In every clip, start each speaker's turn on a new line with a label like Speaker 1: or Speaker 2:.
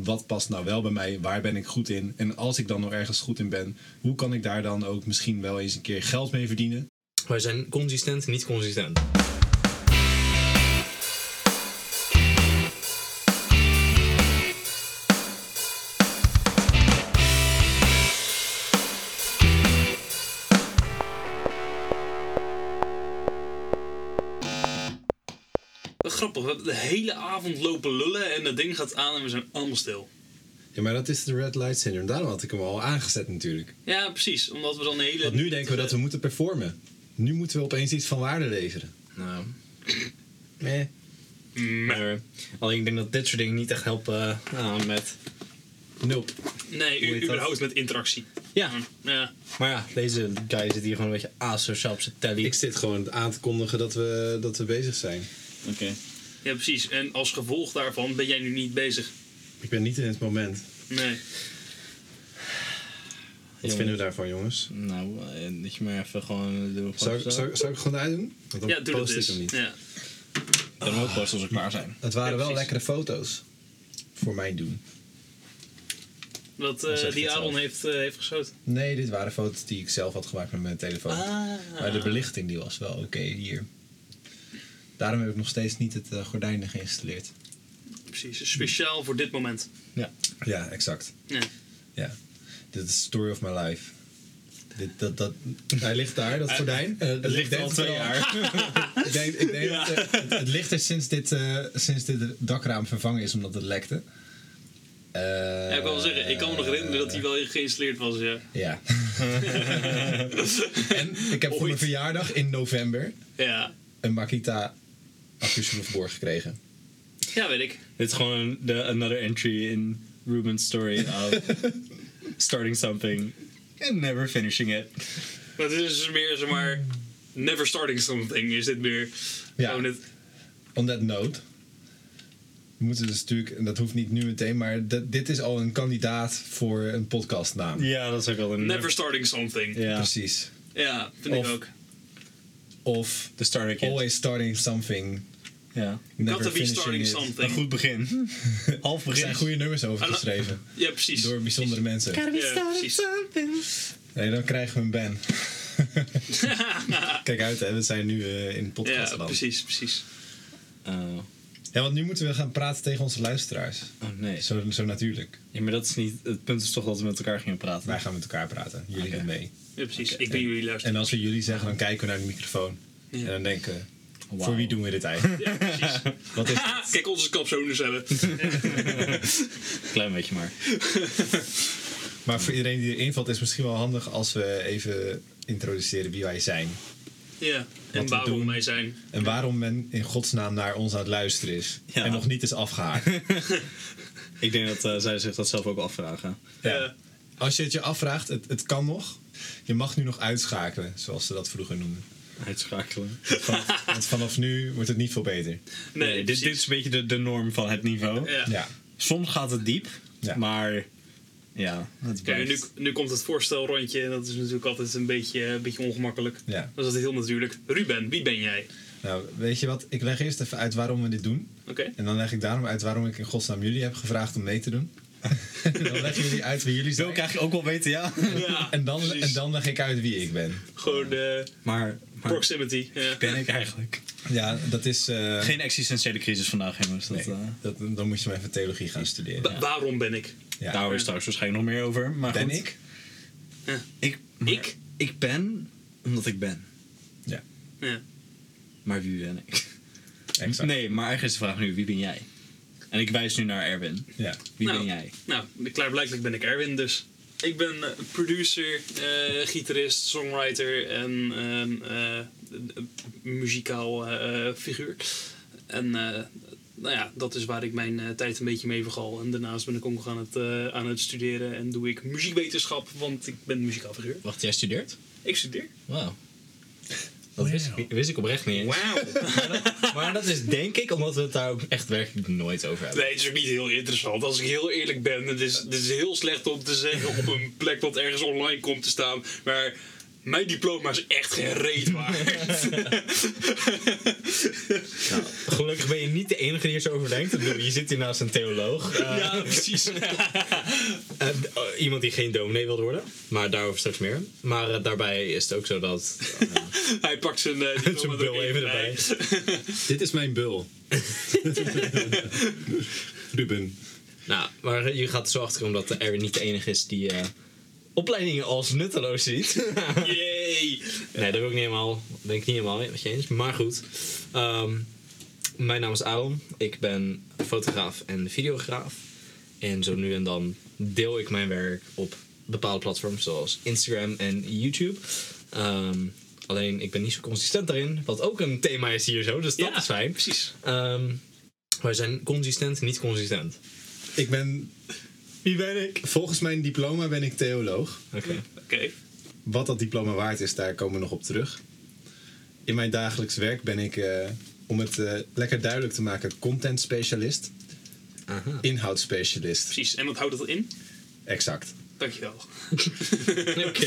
Speaker 1: wat past nou wel bij mij, waar ben ik goed in. En als ik dan nog ergens goed in ben, hoe kan ik daar dan ook misschien wel eens een keer geld mee verdienen.
Speaker 2: Wij zijn consistent, niet consistent. Wat grappig, we hebben de hele avond lopen lullen en dat ding gaat aan en we zijn allemaal stil.
Speaker 3: Ja, maar dat is de red light syndrome. Daarom had ik hem al aangezet natuurlijk.
Speaker 2: Ja, precies, omdat we dan de hele...
Speaker 3: Want nu denken we dat we moeten performen. Nu moeten we opeens iets van waarde leveren.
Speaker 4: Nou,
Speaker 3: Meh.
Speaker 2: Nee,
Speaker 4: eh, alleen ik denk dat dit soort dingen niet echt helpen eh, nou, met...
Speaker 3: Nope.
Speaker 2: nee
Speaker 4: Hoe
Speaker 2: u,
Speaker 4: heet dat?
Speaker 2: überhaupt met interactie.
Speaker 4: Ja,
Speaker 2: Ja,
Speaker 4: maar ja, deze guy zit hier gewoon een beetje asociaal op zijn telly.
Speaker 3: Ik zit gewoon aan te kondigen dat we, dat we bezig zijn.
Speaker 4: Oké.
Speaker 2: ja, precies. En als gevolg daarvan ben jij nu niet bezig.
Speaker 3: Ik ben niet in het moment. Wat
Speaker 2: Nee.
Speaker 3: vinden we daarvan, jongens?
Speaker 4: Nou, eh, dat je maar even gewoon... Doe
Speaker 3: Zou ik, zou, ik- zou ik gewoon uitdoen? Want dan
Speaker 2: Ja, doe dat
Speaker 3: post ik
Speaker 2: dus.
Speaker 3: hem niet.
Speaker 2: Ja.
Speaker 4: kan hem ook pas als we klaar zijn.
Speaker 3: Het waren
Speaker 2: Ja,
Speaker 3: wel
Speaker 2: precies.
Speaker 3: lekkere foto's. Voor mijn doen.
Speaker 2: Dat
Speaker 3: Dan zeg
Speaker 2: eh
Speaker 3: je
Speaker 2: die
Speaker 3: het
Speaker 2: Aaron
Speaker 3: zelf.
Speaker 2: heeft, eh, heeft geschoten.
Speaker 3: Nee, dit waren foto's die ik zelf had gemaakt met mijn telefoon.
Speaker 2: Ah.
Speaker 3: Maar de belichting die was wel oké hier. Daarom heb ik nog steeds niet het eh, gordijnen geïnstalleerd.
Speaker 2: Precies, speciaal voor dit moment.
Speaker 3: Ja, exact.
Speaker 2: Ja.
Speaker 3: Ja. Dit is the story of my life. Dit, dat, dat, hij ligt daar, dat gordijn.
Speaker 2: eh,
Speaker 3: het ligt al twee jaar. ik denk, ik denk dat, eh, het, het ligt er sinds dit, eh, sinds dit dakraam vervangen is omdat het lekte. Eh,
Speaker 2: ja, ik wil wel zeggen, ik kan me nog herinneren dat hij wel geïnstalleerd was. Ja.
Speaker 3: Ja. en ik heb voor mijn
Speaker 2: Ooit.
Speaker 3: verjaardag in november
Speaker 2: ja.
Speaker 3: een Makita accuschroefboor gekregen.
Speaker 2: Ja, weet ik.
Speaker 4: Dit is gewoon de another entry in Ruben's story of starting something and never finishing it.
Speaker 2: Maar het is dus meer, zeg maar, never starting something is dit meer.
Speaker 3: Ja.
Speaker 2: Gewoon het-
Speaker 3: On that note. We moeten dus natuurlijk, en dat hoeft niet nu meteen, maar d- dit is al een kandidaat voor een podcastnaam.
Speaker 4: Ja, dat is ook wel een...
Speaker 2: never starting something. Ja,
Speaker 4: Ja,
Speaker 3: Precies.
Speaker 2: vind
Speaker 4: Of-
Speaker 2: ik ook.
Speaker 3: Of
Speaker 4: de starter kit.
Speaker 3: always starting something.
Speaker 4: Ja.
Speaker 3: Never
Speaker 2: Gotta be
Speaker 3: finishing
Speaker 2: starting
Speaker 3: it.
Speaker 4: Een
Speaker 2: something.
Speaker 4: goed begin. Half
Speaker 3: Er zijn
Speaker 4: begin.
Speaker 3: goede nummers over geschreven.
Speaker 2: Ja, precies.
Speaker 3: Door bijzondere mensen.
Speaker 2: Ja, precies.
Speaker 3: Nee, dan krijgen we een ban. Kijk uit, hè. We zijn nu eh, in het
Speaker 2: Ja,
Speaker 3: podcastland. Ja,
Speaker 2: precies, precies.
Speaker 4: Oh,
Speaker 3: want nu moeten we gaan praten tegen onze luisteraars.
Speaker 4: oh nee.
Speaker 3: Zo, zo natuurlijk.
Speaker 4: Ja, maar dat is niet... Het punt is toch dat we met elkaar gingen praten.
Speaker 3: Wij gaan met elkaar praten. Jullie
Speaker 4: Oké.
Speaker 3: doen mee.
Speaker 2: Ja, precies. Ik ben jullie luisteren.
Speaker 3: En als we jullie zeggen, dan kijken we naar de microfoon. En dan denken we,
Speaker 4: Wauw.
Speaker 3: voor wie doen we dit eigenlijk?
Speaker 2: Ja, precies.
Speaker 3: Wat is
Speaker 2: Haha, Kijk, onze kapzones hebben.
Speaker 4: Klein beetje maar.
Speaker 3: Maar voor iedereen die erin valt, is misschien wel handig als we even introduceren wie wij zijn.
Speaker 2: Ja, en
Speaker 3: we
Speaker 2: waarom
Speaker 3: doen.
Speaker 2: wij zijn.
Speaker 3: En waarom men in godsnaam naar ons aan het luisteren is.
Speaker 4: Ja.
Speaker 3: En nog niet is afgehaakt.
Speaker 4: Ik denk dat eh, zij zich dat zelf ook afvragen.
Speaker 2: Ja.
Speaker 3: Als je het je afvraagt, het, het kan nog. Je mag nu nog uitschakelen, zoals ze dat vroeger noemden.
Speaker 4: Uitschakelen.
Speaker 3: Vanaf, want vanaf nu wordt het niet veel beter.
Speaker 2: Nee,
Speaker 4: Nee, dit, dit
Speaker 2: precies.
Speaker 4: is een beetje de, de norm van het niveau.
Speaker 2: Ja.
Speaker 3: Ja.
Speaker 4: Soms gaat het diep,
Speaker 3: Ja.
Speaker 4: maar ja, het
Speaker 2: Kijk,
Speaker 4: blijft.
Speaker 2: nu, nu komt het voorstelrondje en dat is natuurlijk altijd een beetje, een beetje ongemakkelijk.
Speaker 3: Ja.
Speaker 2: Dat is altijd heel natuurlijk. Ruben, wie ben jij?
Speaker 3: Nou, weet je wat? Ik leg eerst even uit waarom we dit doen.
Speaker 2: Oké.
Speaker 3: En dan leg ik daarom uit waarom ik in godsnaam jullie heb gevraagd om mee te doen. en dan leggen jullie uit wie jullie
Speaker 4: Wil ik
Speaker 3: zijn.
Speaker 4: eigenlijk ook wel weten, ja.
Speaker 2: Ja,
Speaker 3: En dan,
Speaker 2: precies.
Speaker 3: en dan leg ik uit wie ik ben.
Speaker 2: Gewoon de
Speaker 4: Maar, maar
Speaker 2: proximity. Ja.
Speaker 4: ben ik eigenlijk?
Speaker 3: Ja, dat is... eh,
Speaker 4: Geen existentiële crisis vandaag, jongens. Dat,
Speaker 3: nee,
Speaker 4: eh,
Speaker 3: dat, dan moet je maar even theologie gaan studeren.
Speaker 2: Wa- Waarom ben ik?
Speaker 3: Ja.
Speaker 4: Daar hoor je straks waarschijnlijk nog meer over. Maar
Speaker 3: ben
Speaker 4: nou, goed.
Speaker 3: ik?
Speaker 4: Ik, maar
Speaker 2: Ik?
Speaker 4: Ik ben omdat ik ben.
Speaker 3: Ja.
Speaker 2: Ja.
Speaker 4: Maar wie ben ik?
Speaker 3: Exact.
Speaker 4: Nee, maar eigenlijk is de vraag nu, wie ben jij? En ik wijs nu naar Erwin.
Speaker 3: Ja.
Speaker 4: Wie
Speaker 2: Nou.
Speaker 4: ben jij?
Speaker 2: Nou, klaarblijkelijk ben ik Erwin dus. Ik ben eh, producer, eh, gitarist, songwriter en ehm, eh, een- een muzikaal eh, eh, figuur. En eh, nou ja, dat is waar ik mijn eh, tijd een beetje mee vergal. En daarnaast ben ik ook nog aan het, eh, aan het studeren en doe ik muziekwetenschap, want ik ben een muzikaal figuur.
Speaker 4: Wacht, jij studeert?
Speaker 2: Ik studeer.
Speaker 4: Wauw. Dat wist ik, wist ik oprecht niet eens.
Speaker 2: Wauw!
Speaker 4: Maar dat is denk ik omdat we het daar ook echt werkelijk nooit over hebben.
Speaker 2: Nee, het is ook niet heel interessant. Als ik heel eerlijk ben, het is, het is heel slecht om te zeggen op een plek dat ergens online komt te staan. Maar Mijn diploma is echt geen reet waard.
Speaker 4: Gelukkig ben je niet de enige die er zo over denkt. Ik bedoel, Je zit hier naast een theoloog. Eh,
Speaker 2: ja, precies.
Speaker 4: eh, d- eh, iemand die geen dominee wilde worden. Maar daarover straks meer. Maar eh, daarbij is het ook zo dat...
Speaker 2: Hij pakt zijn eh, diploma
Speaker 4: Zijn
Speaker 2: er
Speaker 4: bril
Speaker 2: ook
Speaker 4: even erbij.
Speaker 3: Dit is mijn bul. Ruben.
Speaker 4: Nou, maar je gaat er zo achter omdat Erwin niet de enige is die eh, opleidingen als nutteloos ziet.
Speaker 2: Yay!
Speaker 4: Nee, daar ben ik niet helemaal, ben ik niet helemaal mee met je eens. Maar goed. Ehm, mijn naam is Aaron. Ik ben fotograaf en videograaf. En zo nu en dan deel ik mijn werk op bepaalde platforms zoals Instagram en YouTube. Ehm, alleen ik ben niet zo consistent daarin. Wat ook een thema is hier zo, dus dat
Speaker 2: Ja,
Speaker 4: is fijn.
Speaker 2: Precies.
Speaker 4: Ehm, wij zijn consistent, niet consistent.
Speaker 3: Ik ben,
Speaker 4: Wie ben ik?
Speaker 3: volgens mijn diploma ben ik theoloog.
Speaker 4: Oké.
Speaker 2: Oké.
Speaker 3: Wat dat diploma waard is, daar komen we nog op terug. In mijn dagelijks werk ben ik, eh, om het eh, lekker duidelijk te maken, content specialist.
Speaker 4: Aha.
Speaker 3: Inhoudsspecialist.
Speaker 2: Precies. En wat houdt dat in?
Speaker 3: Exact.
Speaker 2: Dankjewel.
Speaker 4: Oké.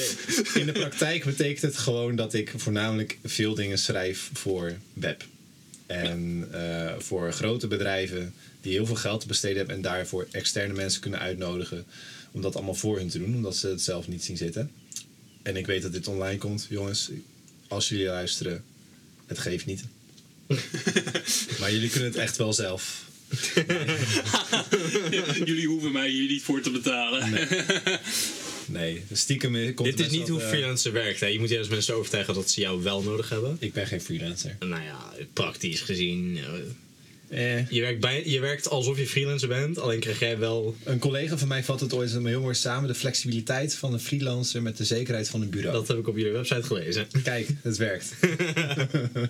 Speaker 3: In de praktijk betekent het gewoon dat ik voornamelijk veel dingen schrijf voor web. En eh, voor grote bedrijven die heel veel geld te besteden hebben en daarvoor externe mensen kunnen uitnodigen om dat allemaal voor hun te doen, omdat ze het zelf niet zien zitten. En ik weet dat dit online komt, jongens. Als jullie luisteren, het geeft niet. maar jullie kunnen het echt wel zelf.
Speaker 2: Jullie hoeven mij hier niet voor te betalen.
Speaker 3: Nee, stiekem komt er
Speaker 4: Dit is
Speaker 3: best
Speaker 4: niet
Speaker 3: wel,
Speaker 4: hoe
Speaker 3: eh,
Speaker 4: freelancer werkt. Hè. Je moet juist mensen overtuigen dat ze jou wel nodig hebben.
Speaker 3: Ik ben geen freelancer.
Speaker 4: Nou ja, praktisch gezien. eh,
Speaker 3: Eh.
Speaker 4: Je werkt, bij, je werkt alsof je freelancer bent, alleen krijg jij wel
Speaker 3: Een collega van mij vat het ooit heel mooi samen: de flexibiliteit van een freelancer met de zekerheid van een bureau.
Speaker 4: Dat heb ik op jullie website gelezen.
Speaker 3: Kijk, het werkt.
Speaker 2: Hebben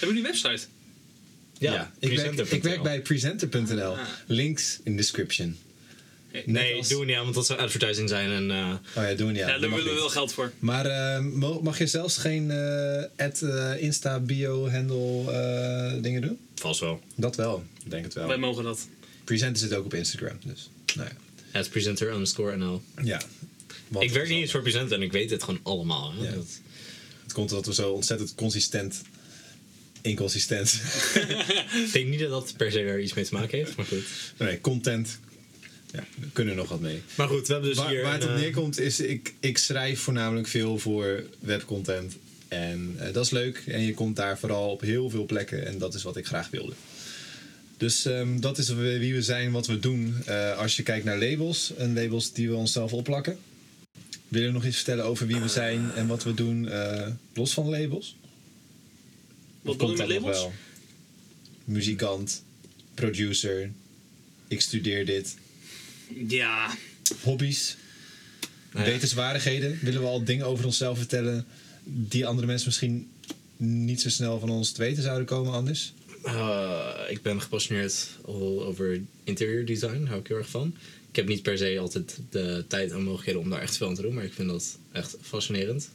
Speaker 2: jullie een website?
Speaker 4: Ja,
Speaker 3: ik, werk,
Speaker 4: presenter.nl.
Speaker 3: ik werk bij presenter.nl.
Speaker 2: Ah.
Speaker 3: Links in description.
Speaker 2: Hey.
Speaker 3: Net
Speaker 4: Nee,
Speaker 3: als-
Speaker 4: doen we niet aan, want dat zou advertising zijn. En, eh,
Speaker 3: Oh ja, doen we niet aan.
Speaker 2: Ja,
Speaker 3: Dat
Speaker 2: daar
Speaker 3: mag
Speaker 2: willen we
Speaker 3: niet.
Speaker 2: wel geld voor.
Speaker 3: Maar eh, mo- mag je zelfs geen eh, ad, eh, Insta, bio, handle eh, dingen doen?
Speaker 4: vast wel.
Speaker 3: Dat wel. Ik denk het
Speaker 2: Wij
Speaker 3: wel.
Speaker 2: mogen dat.
Speaker 3: Presenter zit ook op Instagram, dus. Nou ja.
Speaker 4: Het presenter underscore NL.
Speaker 3: ja. Want
Speaker 4: ik werk niet eens voor presenter en ik weet het gewoon allemaal. Hè?
Speaker 3: Ja.
Speaker 4: Dat-
Speaker 3: Het komt omdat we zo ontzettend consistent. Inconsistent.
Speaker 4: ik denk niet dat dat per se daar iets mee te maken heeft, maar goed.
Speaker 3: nee, content. Ja, we kunnen nog wat mee.
Speaker 4: Maar goed, we hebben dus
Speaker 3: waar,
Speaker 4: hier...
Speaker 3: waar het
Speaker 4: een,
Speaker 3: op
Speaker 4: eh,
Speaker 3: neerkomt is, ik, ik schrijf voornamelijk veel voor webcontent. En eh, dat is leuk. En je komt daar vooral op heel veel plekken. En dat is wat ik graag wilde. Dus ehm, dat is wie wie we zijn, wat we doen. Eh, als je kijkt naar labels en labels die we onszelf opplakken. Wil je nog iets vertellen over wie we zijn en wat we doen eh, los van labels?
Speaker 2: Wat bedoel je met
Speaker 3: dat nog
Speaker 2: labels?
Speaker 3: wel? Muzikant, producer, ik studeer dit.
Speaker 2: Ja,
Speaker 3: hobby's,
Speaker 4: Nou ja.
Speaker 3: wetenswaardigheden. Willen we al dingen over onszelf vertellen die andere mensen misschien niet zo snel van ons te weten zouden komen anders?
Speaker 4: Eh, ik ben gepassioneerd o- over interieurdesign, hou ik heel erg van. Ik heb niet per se altijd de tijd en mogelijkheden om daar echt veel aan te doen, maar ik vind dat echt fascinerend.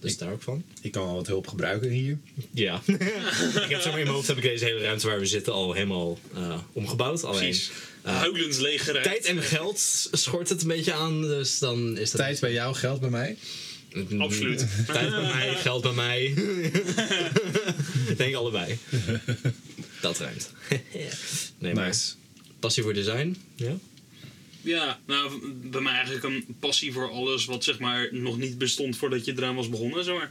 Speaker 4: Dus daar ook van.
Speaker 3: Ik kan wel wat hulp gebruiken hier.
Speaker 4: Ja. ik heb zomaar in mijn hoofd heb ik deze hele ruimte waar we zitten al helemaal eh, omgebouwd. Alleen
Speaker 2: precies.
Speaker 4: eh,
Speaker 2: Huilens leeggeruimd.
Speaker 4: tijd en geld schort het een beetje aan, dus dan is dat...
Speaker 3: Tijd bij jou, geld bij mij.
Speaker 4: Mm,
Speaker 2: Absoluut.
Speaker 4: Tijd bij mij, geld bij mij. Ik Denk allebei. Dat ruimt. nee, maar
Speaker 3: Nice.
Speaker 4: passie voor design. Ja.
Speaker 2: Ja, nou, v- bij mij eigenlijk een passie voor alles wat zeg maar nog niet bestond voordat je eraan was begonnen, zeg maar.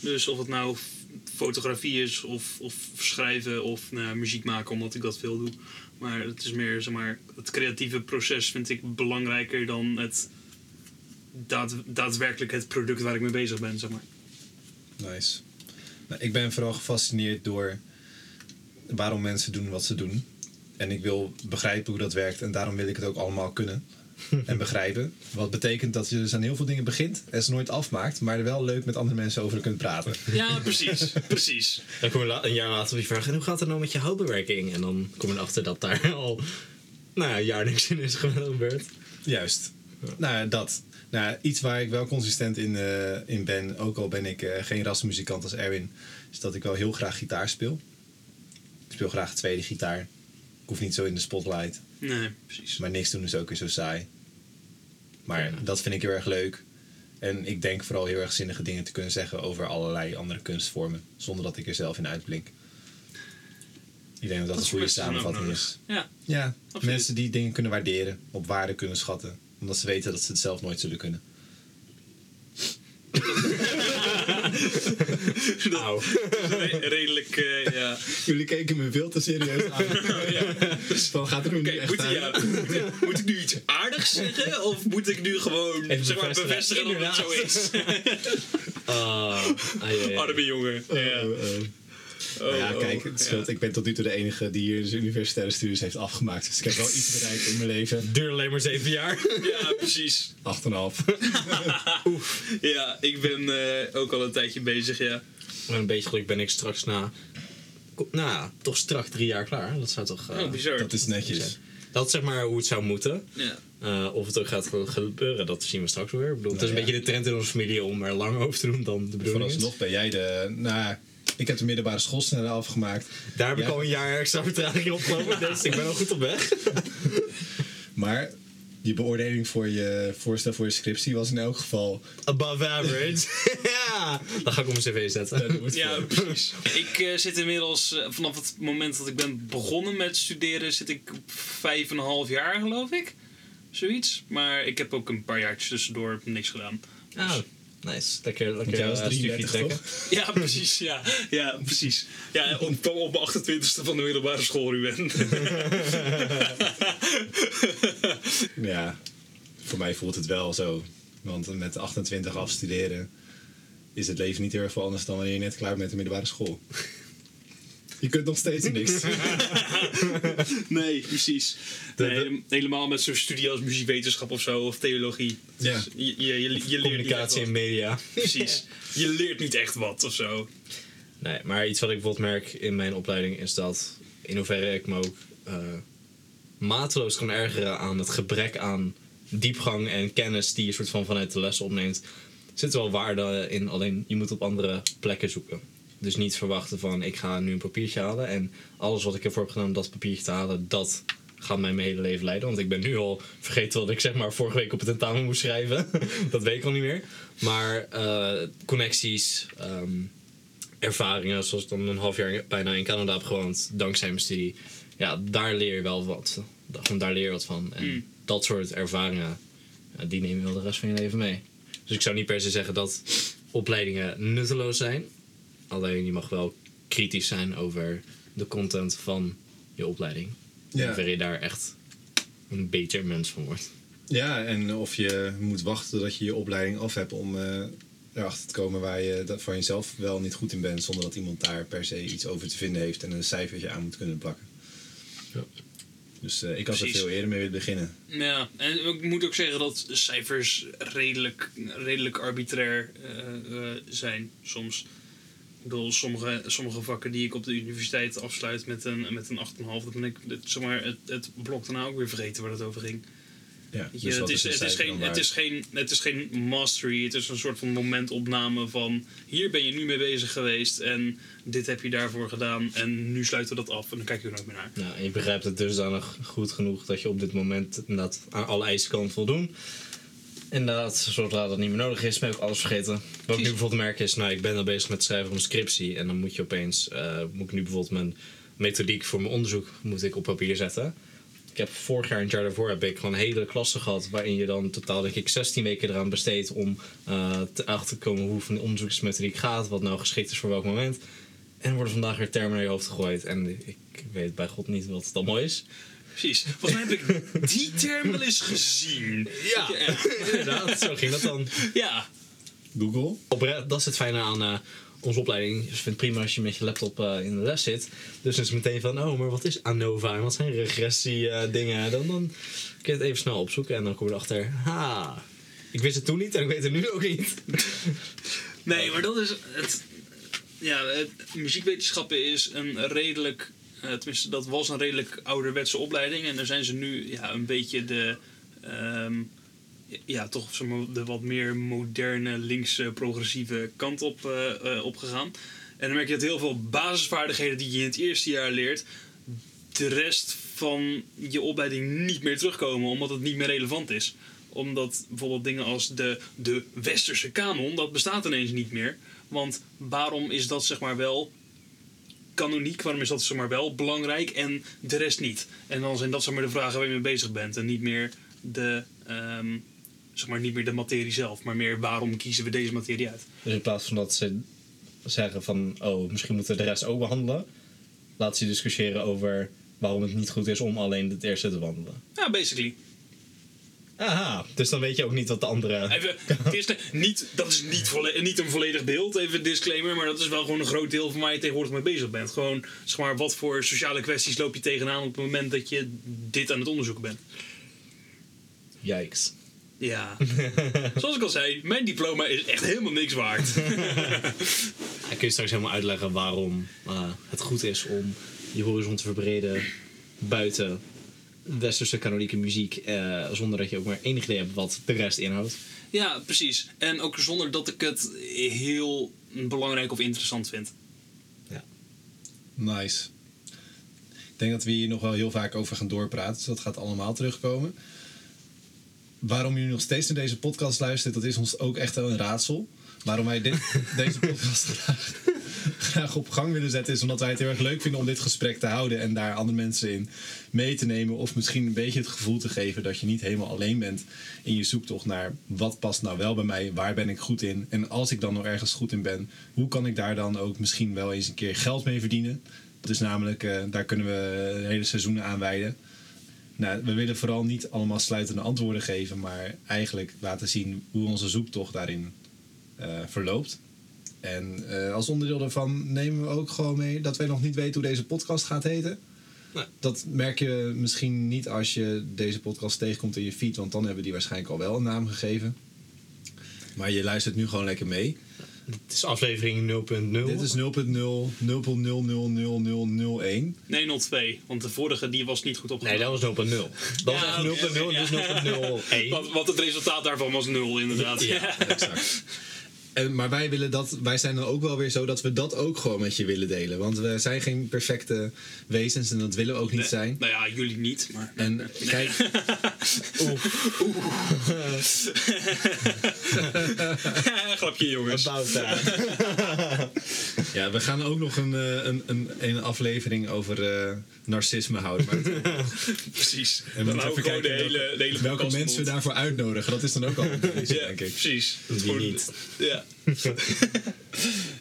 Speaker 2: Dus of het nou f- fotografie is of, of schrijven of nou, ja, muziek maken, omdat ik dat veel doe. Maar het is meer, zeg maar, het creatieve proces vind ik belangrijker dan het daad, daadwerkelijk het product waar ik mee bezig ben, zeg maar.
Speaker 3: Nice. Nou, ik ben vooral gefascineerd door waarom mensen doen wat ze doen. En ik wil begrijpen hoe dat werkt en daarom wil ik het ook allemaal kunnen. En begrijpen. Wat betekent dat je dus aan heel veel dingen begint en ze nooit afmaakt, maar wel leuk met andere mensen over kunt praten.
Speaker 2: Ja, precies. precies.
Speaker 4: Dan kom je la- een jaar later op je vraag, en hoe gaat het nou met je houtbewerking? En dan kom je erachter dat daar al nou ja, een jaar niks in is gebeurd.
Speaker 3: Juist. Nou, dat. Nou, iets waar ik wel consistent in, eh, in ben, ook al ben ik eh, geen rasmuzikant als Erwin, is dat ik wel heel graag gitaar speel. Ik speel graag tweede gitaar. Ik hoef niet zo in de spotlight.
Speaker 2: Nee, precies.
Speaker 3: Maar niks doen is ook weer zo saai. Maar dat vind ik heel erg leuk. En ik denk vooral heel erg zinnige dingen te kunnen zeggen over allerlei andere kunstvormen. Zonder dat ik er zelf in uitblink. Ik denk dat dat,
Speaker 2: Dat
Speaker 3: een
Speaker 2: is
Speaker 3: goede
Speaker 2: best wel
Speaker 3: samenvatting dus. is.
Speaker 2: nodig. Ja,
Speaker 3: Ja,
Speaker 2: Absoluut.
Speaker 3: mensen die dingen kunnen waarderen, op waarde kunnen schatten. Omdat ze weten dat ze het zelf nooit zullen kunnen.
Speaker 4: Auw.
Speaker 2: re- redelijk, eh, ja.
Speaker 5: Jullie keken me veel te serieus aan.
Speaker 2: ja.
Speaker 5: Van, gaat er nu
Speaker 2: Oké,
Speaker 5: echt
Speaker 2: moet,
Speaker 5: uit?
Speaker 2: ja, moet- moet ik nu iets aardigs zeggen? Of moet ik nu gewoon
Speaker 4: Even
Speaker 2: zeg maar,
Speaker 4: bevestigen.
Speaker 2: bevestigen dat het zo is?
Speaker 4: Ah, ai,
Speaker 3: Oh,
Speaker 4: ai, ai.
Speaker 2: Arme jongen. Ja.
Speaker 5: Oh, oh.
Speaker 2: Oh,
Speaker 3: Nou ja,
Speaker 2: oh.
Speaker 3: kijk, het scheelt. Ik ben tot nu toe de enige die hier dus zijn universitaire studies heeft afgemaakt. Dus ik heb wel iets bereikt in mijn leven.
Speaker 4: Duur alleen maar zeven jaar.
Speaker 2: Ja, precies.
Speaker 3: 8,5.
Speaker 2: Ja, ik ben eh, ook al een tijdje bezig, ja.
Speaker 4: Met een beetje geluk ben ik straks na... ko- Nou ja, toch strak drie jaar klaar. Dat zou toch... eh,
Speaker 2: Oh, bizar.
Speaker 3: Dat is netjes.
Speaker 4: dat is zeg maar hoe het zou moeten.
Speaker 2: Ja.
Speaker 4: Eh, of het ook gaat ge- gebeuren, dat zien we straks wel weer. Ik bedoel, het is een
Speaker 3: Nou ja.
Speaker 4: beetje de trend in onze familie om er lang over te doen dan de bedoeling is.
Speaker 3: Vooralsnog ben jij de... Nou, ik heb de middelbare school sneller afgemaakt.
Speaker 4: Daar heb ik
Speaker 3: Ja.
Speaker 4: al een jaar extra vertraging op gelopen, dus ik ben al goed op weg.
Speaker 3: Maar je beoordeling voor je voorstel voor je scriptie was in elk geval...
Speaker 4: Above average. ja! Dan ga ik op mijn cv
Speaker 3: eh,
Speaker 4: zetten.
Speaker 2: Ja, precies. Ik eh, zit inmiddels, eh, vanaf het moment dat ik ben begonnen met studeren, zit ik op vijf en een half jaar, geloof ik. Zoiets. Maar ik heb ook een paar jaartjes tussendoor niks gedaan.
Speaker 4: Ah, nice. Lekker, lekker
Speaker 3: jij was
Speaker 4: eh, stukje
Speaker 3: 33,
Speaker 4: trekken.
Speaker 2: Ja, precies. Ja, ja precies. Ja, op, kwam op mijn 28e van de middelbare school, Ruben.
Speaker 3: Ja, voor mij voelt het wel zo. Want met 28 afstuderen is het leven niet heel erg veel anders dan wanneer je net klaar bent met de middelbare school. Je kunt nog steeds niks.
Speaker 2: nee, precies. Nee, helemaal met zo'n studie als muziekwetenschap of zo, of theologie.
Speaker 3: Ja.
Speaker 2: Dus Je, je, je, je leert niet echt
Speaker 4: Communicatie
Speaker 2: wat.
Speaker 4: en media.
Speaker 2: Precies. Je leert niet echt wat of zo.
Speaker 4: Nee, maar iets wat ik bijvoorbeeld merk in mijn opleiding is dat in hoeverre ik me ook eh, mateloos kan ergeren aan het gebrek aan diepgang en kennis die je soort van vanuit de les opneemt, zit er wel waarde in. Alleen je moet op andere plekken zoeken. Dus niet verwachten van ik ga nu een papiertje halen en alles wat ik ervoor heb gedaan om dat papiertje te halen, dat gaat mij mijn hele leven leiden. Want ik ben nu al vergeten wat ik zeg maar vorige week op het tentamen moest schrijven. dat weet ik al niet meer. Maar eh, connecties, ehm, ervaringen, zoals ik dan een half jaar bijna in Canada heb gewoond, dankzij mijn studie. Ja, daar leer je wel wat. Da- Gewoon daar leer je wat van. En
Speaker 2: Mm.
Speaker 4: dat soort ervaringen, ja, die neem je wel de rest van je leven mee. Dus ik zou niet per se zeggen dat opleidingen nutteloos zijn. Alleen je mag wel kritisch zijn over de content van je opleiding.
Speaker 3: Ja.
Speaker 4: Waarin je daar echt een beter mens van wordt.
Speaker 3: Ja, en of je moet wachten tot je je opleiding af hebt om eh, erachter te komen waar je dat van jezelf wel niet goed in bent, zonder dat iemand daar per se iets over te vinden heeft en een cijfertje aan moet kunnen plakken.
Speaker 4: Ja.
Speaker 3: Dus eh, ik had
Speaker 2: Precies.
Speaker 3: er veel eerder mee willen beginnen.
Speaker 2: Ja, en ik moet ook zeggen dat cijfers redelijk, redelijk arbitrair eh, eh, zijn soms. Ik bedoel, sommige, sommige vakken die ik op de universiteit afsluit met een, met een 8,5, dat ben ik het, zeg maar, het, het blok daarna ook weer vergeten waar het over ging.
Speaker 3: Ja,
Speaker 2: Weet je,
Speaker 3: dus
Speaker 2: het,
Speaker 3: wat
Speaker 2: is,
Speaker 3: een
Speaker 2: het, is
Speaker 3: cijfer
Speaker 2: geen,
Speaker 3: dan
Speaker 2: het, is
Speaker 3: waard?
Speaker 2: geen, het is geen mastery, het is een soort van momentopname van hier ben je nu mee bezig geweest en dit heb je daarvoor gedaan en nu sluiten we dat af en dan kijk je er ook meer naar.
Speaker 4: Nou, en je begrijpt het dusdanig goed genoeg dat je op dit moment inderdaad aan alle eisen kan voldoen. Inderdaad, zodra dat niet meer nodig is, ben ik ook alles vergeten. Wat ik nu bijvoorbeeld merk is, nou, ik ben al bezig met het schrijven van mijn scriptie. En dan moet je opeens, eh, moet ik nu bijvoorbeeld mijn methodiek voor mijn onderzoek moet ik op papier zetten. Ik heb vorig jaar en het jaar daarvoor heb ik gewoon hele klassen gehad waarin je dan totaal denk ik 16 weken eraan besteedt om eh, te achter te komen hoe van die onderzoeksmethodiek gaat, wat nou geschikt is voor welk moment. En er worden vandaag weer termen naar je hoofd gegooid. En ik weet bij god niet wat het allemaal is.
Speaker 2: Precies. Volgens mij heb ik die term wel eens gezien.
Speaker 4: Ja, inderdaad. Zo ging dat dan.
Speaker 2: Ja,
Speaker 3: Google?
Speaker 4: Oprecht, dat is het fijne aan eh, onze opleiding. Dus ik vind het prima als je met je laptop eh, in de les zit. Dus dan is het meteen van, oh, maar wat is ANOVA en wat zijn regressie-dingen? dan, dan kun je het even snel opzoeken en dan kom je erachter, ha, ik wist het toen niet en ik weet het nu ook niet.
Speaker 2: Nee, maar dat is het. Ja, het- muziekwetenschappen is een redelijk. eh, tenminste, dat was een redelijk ouderwetse opleiding. En daar zijn ze nu ja, een beetje de. ehm, ja, toch zeg maar, de wat meer moderne, linkse, progressieve kant op eh, eh, opgegaan. En dan merk je dat heel veel basisvaardigheden die je in het eerste jaar leert, de rest van je opleiding niet meer terugkomen, omdat het niet meer relevant is. Omdat bijvoorbeeld dingen als de, de westerse kanon, dat bestaat ineens niet meer. Want waarom is dat zeg maar wel kanoniek, waarom is dat zeg maar wel belangrijk en de rest niet? En dan zijn dat zeg maar de vragen waar je mee bezig bent en niet meer de, ehm, zeg maar, niet meer de materie zelf, maar meer waarom kiezen we deze materie uit?
Speaker 6: Dus in plaats van dat ze zeggen van, oh, misschien moeten we de rest ook behandelen, laten ze discussiëren over waarom het niet goed is om alleen het eerste te wandelen.
Speaker 2: Ja, basically.
Speaker 6: Aha, dus dan weet je ook niet wat de andere.
Speaker 2: Even, het eerste, niet, dat is niet, volle- niet een volledig beeld, even een disclaimer, maar dat is wel gewoon een groot deel van waar je tegenwoordig mee bezig bent. Gewoon, zeg maar, wat voor sociale kwesties loop je tegenaan op het moment dat je dit aan het onderzoeken bent?
Speaker 6: Yikes.
Speaker 2: Ja. Zoals ik al zei, mijn diploma is echt helemaal niks waard.
Speaker 4: Hij kun je straks helemaal uitleggen waarom eh, het goed is om je horizon te verbreden buiten westerse kanonieke muziek, eh, zonder dat je ook maar enig idee hebt wat de rest inhoudt.
Speaker 2: ja, precies. En ook zonder dat ik het heel belangrijk of interessant vind.
Speaker 3: Nice. Ik denk dat we hier nog wel heel vaak over gaan doorpraten, dus dat gaat allemaal terugkomen. Waarom jullie nog steeds naar deze podcast luistert, dat is ons ook echt wel een raadsel. Waarom wij dit, deze podcast graag, graag op gang willen zetten, is omdat wij het heel erg leuk vinden om dit gesprek te houden en daar andere mensen in mee te nemen. Of misschien een beetje het gevoel te geven dat je niet helemaal alleen bent in je zoektocht naar wat past nou wel bij mij, waar ben ik goed in. En als ik dan nog ergens goed in ben, hoe kan ik daar dan ook misschien wel eens een keer geld mee verdienen? Dat is namelijk, eh, daar kunnen we hele seizoenen aan wijden. Nou, we willen vooral niet allemaal sluitende antwoorden geven, maar eigenlijk laten zien hoe onze zoektocht daarin eh, verloopt. En eh, als onderdeel daarvan nemen we ook gewoon mee dat wij nog niet weten hoe deze podcast gaat heten.
Speaker 4: Nee.
Speaker 3: Dat merk je misschien niet als je deze podcast tegenkomt in je feed, want dan hebben we die waarschijnlijk al wel een naam gegeven. Maar je luistert nu gewoon lekker mee.
Speaker 4: Het is aflevering 0.0.
Speaker 3: Dit is 0.0 0.000001.
Speaker 2: Nee, 02, want de vorige die was niet goed
Speaker 4: Nee,
Speaker 2: opgenomen.
Speaker 4: dat was 0.0. Dat was
Speaker 2: Ja,
Speaker 4: echt 0.0 en dit is 0.01.
Speaker 2: want, want het resultaat daarvan was nul, inderdaad. Ja.
Speaker 3: Exact. En, maar wij, willen dat, wij zijn dan ook wel weer zo dat we dat ook gewoon met je willen delen. Want we zijn geen perfecte wezens en dat willen we ook niet zijn.
Speaker 2: Nou ja, jullie niet, maar...
Speaker 3: En kijk,
Speaker 2: Grapje, jongens.
Speaker 4: About that.
Speaker 3: ja, we gaan ook nog een, eh, een, een, een aflevering over eh, narcisme houden. Maar
Speaker 2: Precies.
Speaker 3: we
Speaker 2: En
Speaker 3: moeten
Speaker 2: dan hou
Speaker 3: even
Speaker 2: ik gewoon de
Speaker 3: kijken
Speaker 2: hele, de hele
Speaker 3: welke
Speaker 2: podcast
Speaker 3: mensen we
Speaker 2: vol.
Speaker 3: daarvoor uitnodigen, dat is dan ook al een keuze,
Speaker 2: Ja,
Speaker 3: denk ik.
Speaker 2: precies. Dat is
Speaker 4: Wie
Speaker 2: gewoon-
Speaker 4: niet.
Speaker 2: Ja.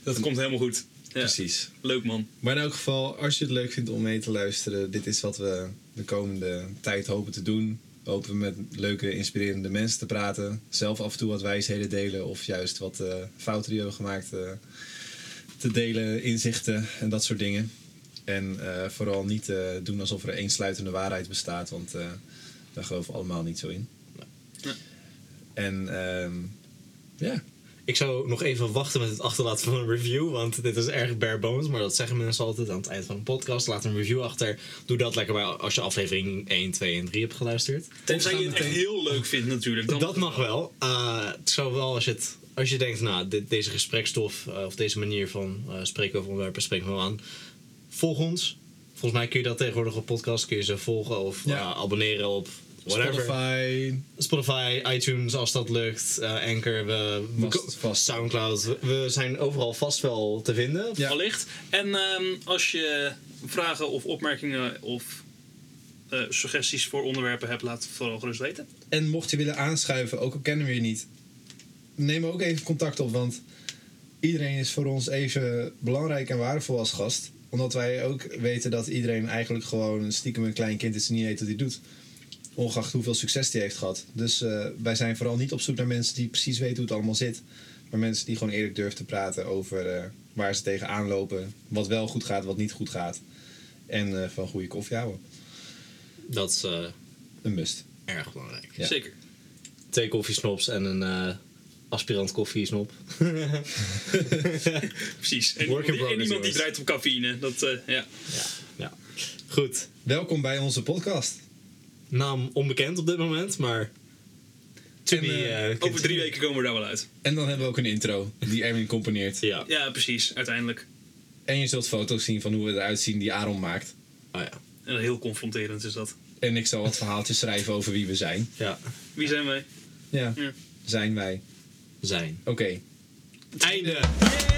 Speaker 2: dat komt helemaal goed. Ja.
Speaker 3: Precies.
Speaker 2: Leuk, man.
Speaker 3: Maar in elk geval, als je het leuk vindt om mee te luisteren, dit is wat we de komende tijd hopen te doen. Hopen we met leuke, inspirerende mensen te praten. Zelf af en toe wat wijsheden delen of juist wat eh, fouten die we hebben gemaakt eh, te delen, inzichten en dat soort dingen. En eh, vooral niet eh, doen alsof er één sluitende waarheid bestaat, want eh, daar geloven we allemaal niet zo in. En ehm, ja,
Speaker 4: Ik zou nog even wachten met het achterlaten van een review, want dit is erg bare bones, maar dat zeggen mensen altijd aan het eind van een podcast. Laat een review achter. Doe dat lekker bij als je aflevering 1, 2 en 3 hebt geluisterd.
Speaker 2: Tenzij je het echt heel leuk vindt, natuurlijk. Dan,
Speaker 4: Dat mag wel. Eh, het zou wel als je, het, als je denkt, nou, dit, deze gesprekstof eh, of deze manier van eh, spreken over onderwerpen spreekt me wel aan. Volg ons. Volgens mij kun je dat tegenwoordig op podcast. Kun je ze volgen of
Speaker 3: Ja.
Speaker 4: eh, abonneren op whatever.
Speaker 3: Spotify,
Speaker 4: Spotify, iTunes, als dat lukt, eh, Anchor, we, we
Speaker 3: Vast,
Speaker 4: ko-
Speaker 3: vast.
Speaker 4: Soundcloud. We, we zijn overal vast wel te vinden.
Speaker 3: Ja.
Speaker 2: Allicht. En ehm, als je vragen of opmerkingen of eh, suggesties voor onderwerpen hebt, laat het vooral gerust weten.
Speaker 3: En mocht je willen aanschuiven, ook al kennen we je niet, neem ook even contact op. Want iedereen is voor ons even belangrijk en waardevol als gast. Omdat wij ook weten dat iedereen eigenlijk gewoon stiekem een klein kind is en niet weet wat hij doet. Ongeacht hoeveel succes die heeft gehad. Dus eh, wij zijn vooral niet op zoek naar mensen die precies weten hoe het allemaal zit. Maar mensen die gewoon eerlijk durven te praten over eh, waar ze tegenaan lopen. Wat wel goed gaat, wat niet goed gaat. En eh, van goede koffie houden.
Speaker 4: Dat is eh,
Speaker 3: Een must.
Speaker 4: erg belangrijk.
Speaker 3: Ja.
Speaker 2: Zeker.
Speaker 4: Twee koffiesnops en een eh, aspirant koffiesnop.
Speaker 2: Precies. En,
Speaker 4: Work in
Speaker 2: iemand- en
Speaker 4: progress,
Speaker 2: iemand die
Speaker 4: jongens.
Speaker 2: draait op cafeïne. Dat, eh, ja.
Speaker 4: Ja. Goed.
Speaker 3: Welkom bij onze podcast.
Speaker 4: Naam onbekend op dit moment, maar... To
Speaker 3: En,
Speaker 4: be,
Speaker 3: eh,
Speaker 4: eh,
Speaker 2: Over drie
Speaker 4: continued.
Speaker 2: weken komen we daar wel uit.
Speaker 3: En dan hebben we ook een intro die Erwin componeert.
Speaker 4: Ja.
Speaker 2: Ja, precies. Uiteindelijk.
Speaker 3: En je zult foto's zien van hoe we eruit zien die Aaron maakt.
Speaker 4: Oh, ja.
Speaker 2: En heel confronterend is dat.
Speaker 3: En ik zal wat verhaaltjes schrijven over wie we zijn.
Speaker 4: ja.
Speaker 2: Wie zijn wij?
Speaker 7: Ja.
Speaker 4: Ja.
Speaker 7: Zijn wij.
Speaker 3: zijn.
Speaker 7: Oké.
Speaker 4: Einde.